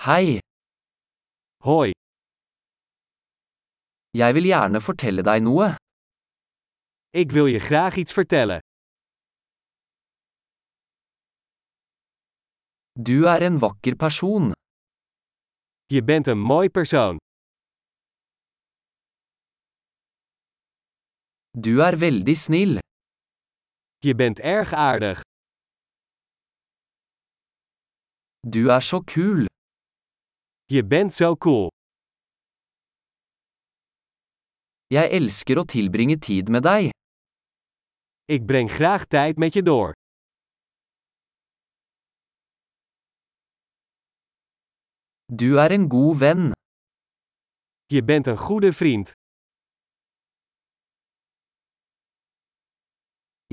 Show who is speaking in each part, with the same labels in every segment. Speaker 1: Hei,
Speaker 2: Hoi,
Speaker 1: jeg vil gjerne fortelle deg noe.
Speaker 2: ik wil je graag iets vertellen.
Speaker 1: Du er en vakker person.
Speaker 2: Je bent een mooi persoon.
Speaker 1: Du er veldig snill.
Speaker 2: Je bent erg aardig.
Speaker 1: Du er så kul.
Speaker 2: Je bent zo cool.
Speaker 1: Jeg elsker å tilbringe tid med deg.
Speaker 2: Ik breng graag tijd met je door.
Speaker 1: Du er en god venn.
Speaker 2: Je bent een goede vriend.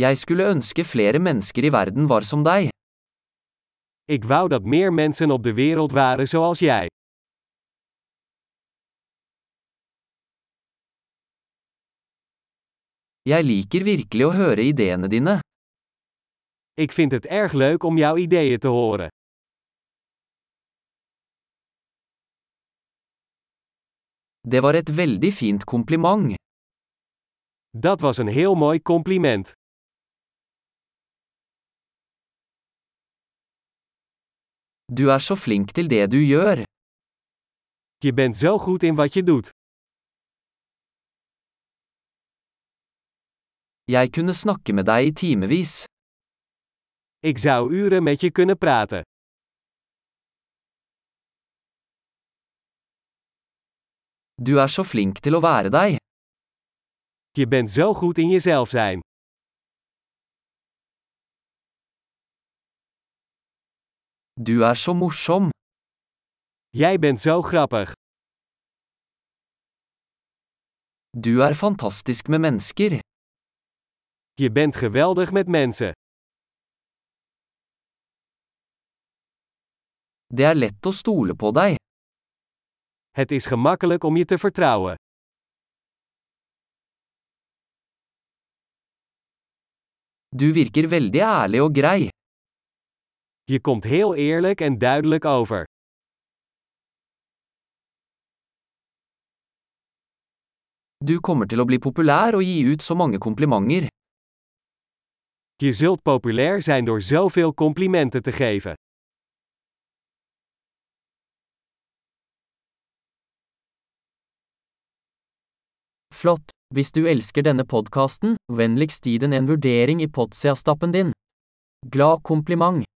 Speaker 1: Jeg skulle ønske flere mennesker i verden var som deg.
Speaker 2: Ik wou dat meer mensen op de wereld waren zoals jij.
Speaker 1: Jeg liker virkelig å høre ideene dine.
Speaker 2: Ik vind het erg leuk om jouw ideeën te horen.
Speaker 1: Det var et veldig fint kompliment.
Speaker 2: Dat was een heel mooi compliment.
Speaker 1: Du er så flink til det du gjør.
Speaker 2: Je bent zo goed in wat je doet.
Speaker 1: Jeg kunne snakke med deg i timevis.
Speaker 2: Ik zou uren met je kunnen praten.
Speaker 1: Du er så flink til å være deg.
Speaker 2: Je bent zo goed in jezelf zijn.
Speaker 1: Du er så morsom.
Speaker 2: Jij bent zo grappig.
Speaker 1: Du er fantastisk med mennesker.
Speaker 2: Je bent geweldig met mensen.
Speaker 1: Det er lett å stole på deg.
Speaker 2: Het is gemakkelijk om je te vertrouwen.
Speaker 1: Du virker veldig ærlig og grei.
Speaker 2: Je komt heel eerlijk en duidelijk over.
Speaker 1: Du kommer til å bli populær og gi ut så mange komplimenter.
Speaker 2: Je zult populair zijn door zoveel complimenten te geven.
Speaker 3: Flott! Hvis du elsker denne podkasten, vennligst gi den en vurdering i Potsia-stappen din. Glad kompliment!